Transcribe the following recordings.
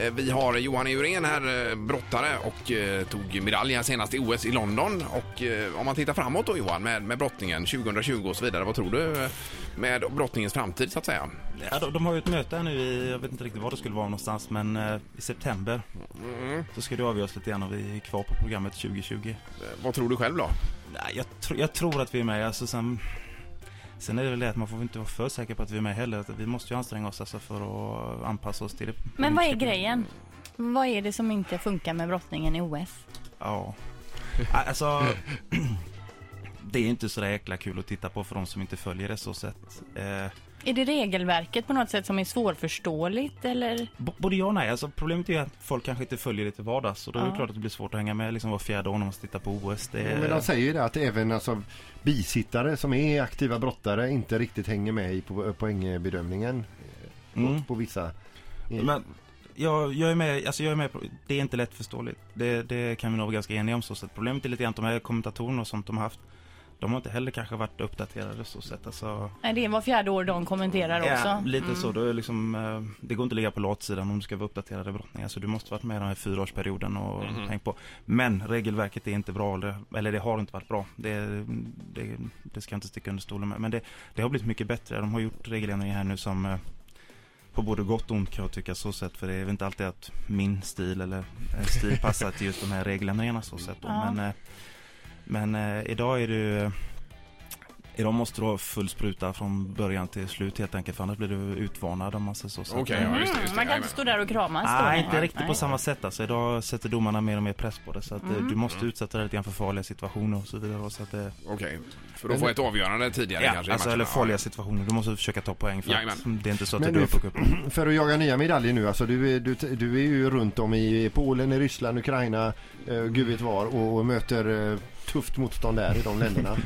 Eh, Vi har Johan Eurén här, eh, brottare och eh, tog medalj här senast i OS i London. Och eh, om man tittar framåt då Johan med, med brottningen 2020 och så vidare, vad tror du eh, med brottningens framtid så att säga? Ja, de, de har ju ett möte här nu i, jag vet inte riktigt var det skulle vara någonstans, men eh, i september. Så ska det avgöras lite grann om vi är kvar på programmet 2020. Eh, Vad tror du själv då? Nej, jag, tr- jag tror att vi är med. Alltså, sen, sen är det väl det att man får inte vara för säker på att vi är med heller. Att vi måste ju anstränga oss alltså, för att anpassa oss till det. Men vad är grejen? Vad är det som inte funkar med brottningen i OS? Ja. Ja, Alltså, det är inte så där jäkla kul att titta på för de som inte följer det så sett. Eh, Är det regelverket på något sätt som är svårförståeligt eller? B- Både ja och nej. Alltså, problemet är ju att folk kanske inte följer det till vardags. Och då är det Ja. klart att det blir svårt att hänga med liksom, var fjärde år när man tittar på OS. Det Men de är... säger ju det att även alltså, bisittare som är aktiva brottare inte riktigt hänger med i po- poängbedömningen eh, Mm. på vissa. Men jag, jag är med, alltså jag är med på, det är inte lättförståeligt. Det, det kan vi nog vara ganska eniga om så sett. Problemet är lite grann att de här kommentatorerna och sånt de har haft, de har inte heller kanske varit uppdaterade så sett. Alltså, Nej, det är var fjärde år de kommenterar också. Mm. ja, lite så. Då är liksom, eh, det går inte att ligga på latsidan om du ska vara uppdaterad i brottning. Alltså, du måste varit med i den här fyraårsperioden och tänkt på. Men regelverket är inte bra, eller, eller det har inte varit bra. Det, det, det ska jag inte sticka under stolen med. Men det, det har blivit mycket bättre. De har gjort regeländringar här nu som eh, på både gott och ont kan jag tycka så sett. För det är väl inte alltid att min stil eller eh, stil passar till just de här regeländringarna så sett. Då. Ja. Men, eh, men eh, idag är du eh, Idag måste du ha full spruta från början till slut helt enkelt för annars blir du utvarnad om man säger så. så. Okej, ja, just det. Mm, Just det. man kan inte Jajamän. stå där och kramas då, Nej, nej. Ah, inte riktigt på Nej. samma sätt alltså. Idag sätter domarna mer och mer press på det så att Mm. eh, du Mm. måste utsätta dig lite grann för farliga situationer och så vidare. Så att, eh, Okej, för att få ett avgörande tidigare ja, kanske i alltså, matcherna. eller farliga situationer. Du måste försöka ta poäng för att Jajamän. det är inte så att Men du går du- upp och upp. För att jaga nya medaljer nu, alltså du, är- du, du är ju runt om i Polen, i Ryssland, Ukraina, eh, gud vet var och, och möter eh, tufft motstånd där i de länderna.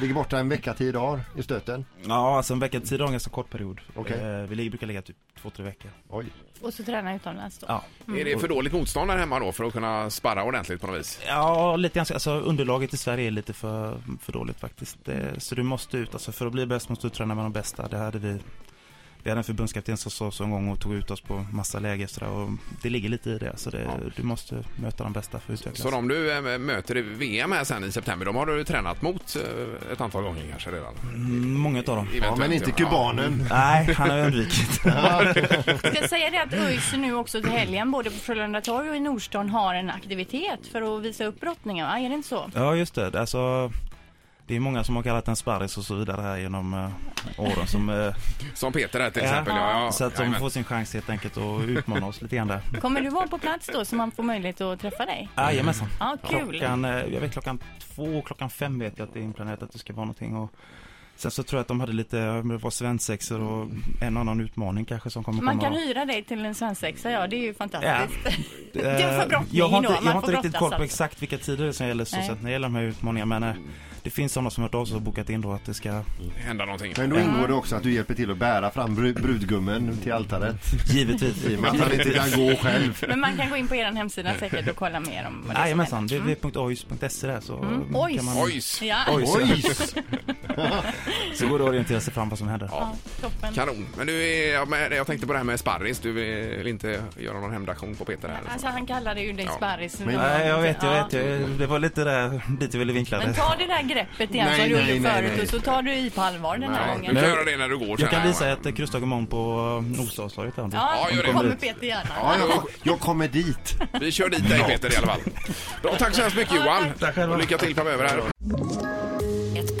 Ligger borta en vecka, tio dagar i stöten. Ja, alltså en vecka till tiden är en ganska kort period. Okej. Eh, vi ligger- brukar ligga typ två, tre veckor. Oj. Och så träna utomlands då. Ja. Är det för dåligt motstånd här hemma då för att kunna sparra ordentligt på något vis? Ja, lite grann. så. Alltså, underlaget i Sverige är lite för, för dåligt faktiskt. Det, så du måste ut. Alltså, för att bli bäst måste du träna med de bästa. Det hade vi. Vi hade en förbundskapten som sa så en gång och tog ut oss på massa läger. Så där, och det ligger lite i det. Så det, Ja. Du måste möta de bästa för att utvecklas. Så de du eh, möter i VM här sen i september, de har du tränat mot eh, ett antal gånger kanske redan? Mm, många av dem. Ja, Eventuellt, men inte ja. kubanen. Nej, han har undvikit. Ska jag säga det att ÖIS nu också till helgen både på Frölunda torg och i Nordstan har en aktivitet för att visa upp brottningen, va? Är det inte så? Ja, just det. Alltså, det är många som har kallat den sparris och så vidare här genom eh, åren. Som, eh, Som Peter här till Ja. exempel. Ja, ja. så att de Jajamän. får sin chans helt enkelt att utmana oss lite grann där. Kommer du vara på plats då så man får möjlighet att träffa dig? Jajamensan. Ja, kul! Klockan, eh, jag vet klockan två, klockan fem vet jag att det är inplanerat att det ska vara någonting och Sen så tror jag att de hade lite, eh, det var svensexor och en annan utmaning kanske som kommer Man komma. kan hyra dig till en svensexa, ja det är ju Ja. fantastiskt. Eh, det är för brottning Jag har då, inte, jag man har får inte riktigt brottas koll på alltså. exakt vilka tider som gäller så Nej. sett när det gäller de här utmaningarna men eh, det finns sådana som har hört av sig och bokat in då att det ska hända någonting. Men då ingår det också att du hjälper till att bära fram bru- brudgummen till altaret. givetvis I och med att han inte kan gå själv. Men man kan gå in på er hemsida säkert och kolla mer om vad det är som Jajamensan, www.ois.se där så Ojs. kan man, Ojs! händer. Ja, Oj, så, Oj! så går det att orientera sig fram vad som händer. ja, toppen. Kanon. Men du, är, jag med- jag tänkte på det här med sparris. Du vill inte göra någon hämndaktion på Peter här? liksom. eller så? Alltså han kallade ju dig Ja. sparris. Men- Nej, jag vet, jag Ja. vet, jag, det var lite där, dit jag ville vinkla det. Men ta det där greppet igen Nej, som du nej, gjorde nej, förut nej. och så tar du i på allvar den här Ja, du gången. kan Nej. göra det när du går sen Jag kan här, visa va? ett eh, krustag imorgon på eh, Nordstadstorget. här. Ja, Ja, gör då det. kommer Peter gärna. Ja, jag, jag kommer dit. Vi kör dit dig Peter i alla fall. Då, tack så hemskt mycket Johan. Tack själva. Och lycka till framöver här. Ett